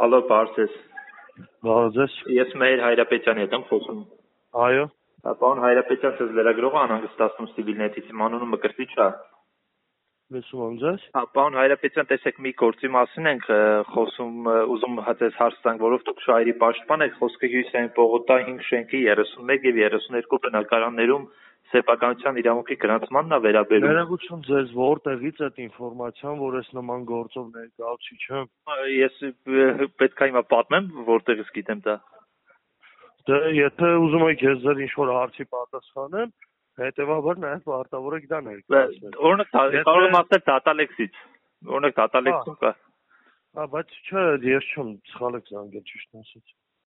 Հալո, բարձես։ Բարձես։ Ես Մեհր Հայրապետյանի հետ եմ խոսում։ Այո։ Հա, Պարոն Հայրապետյան, ես լրագրող անհանգստացնում Civilnet-ից իմ անունը մկրտիչ է։ Լսում եմ ձեզ։ Հա, Պարոն Հայրապետյան, տեսեք, մի գործի մասին ենք ը, խոսում, ը, ուզում հաճես հարցանք, որով դուք շահերի պաշտպան եք, խոսքը Հյուսիսային Պողոտա 5 շենքի 31 եւ 32 բնակարաններում սեփականության իրավունքի գրանցմանն է վերաբերում։ Ներողություն ձեզ, որտեղից այդ ինֆորմացիան, որ ես նման գործով ներկայացուցիչ եմ։ Ես ը, պետք է հիմա պատմեմ, որտեղից գիտեմ դա։ Դե եթե ուզում եք ես ձեր ինչ-որ հարցի պատասխանեմ, հետեւաբար նաև պարտավոր եք դա ներկայացնել։ Օրինակ, դա- Եթե- կարող եմ ասել Datalex-ից։ Օրինակ Datalex-ում կա։ Հա, բայց չէ, ես չեմ սխալ եք զանգել ճիշտ ասած։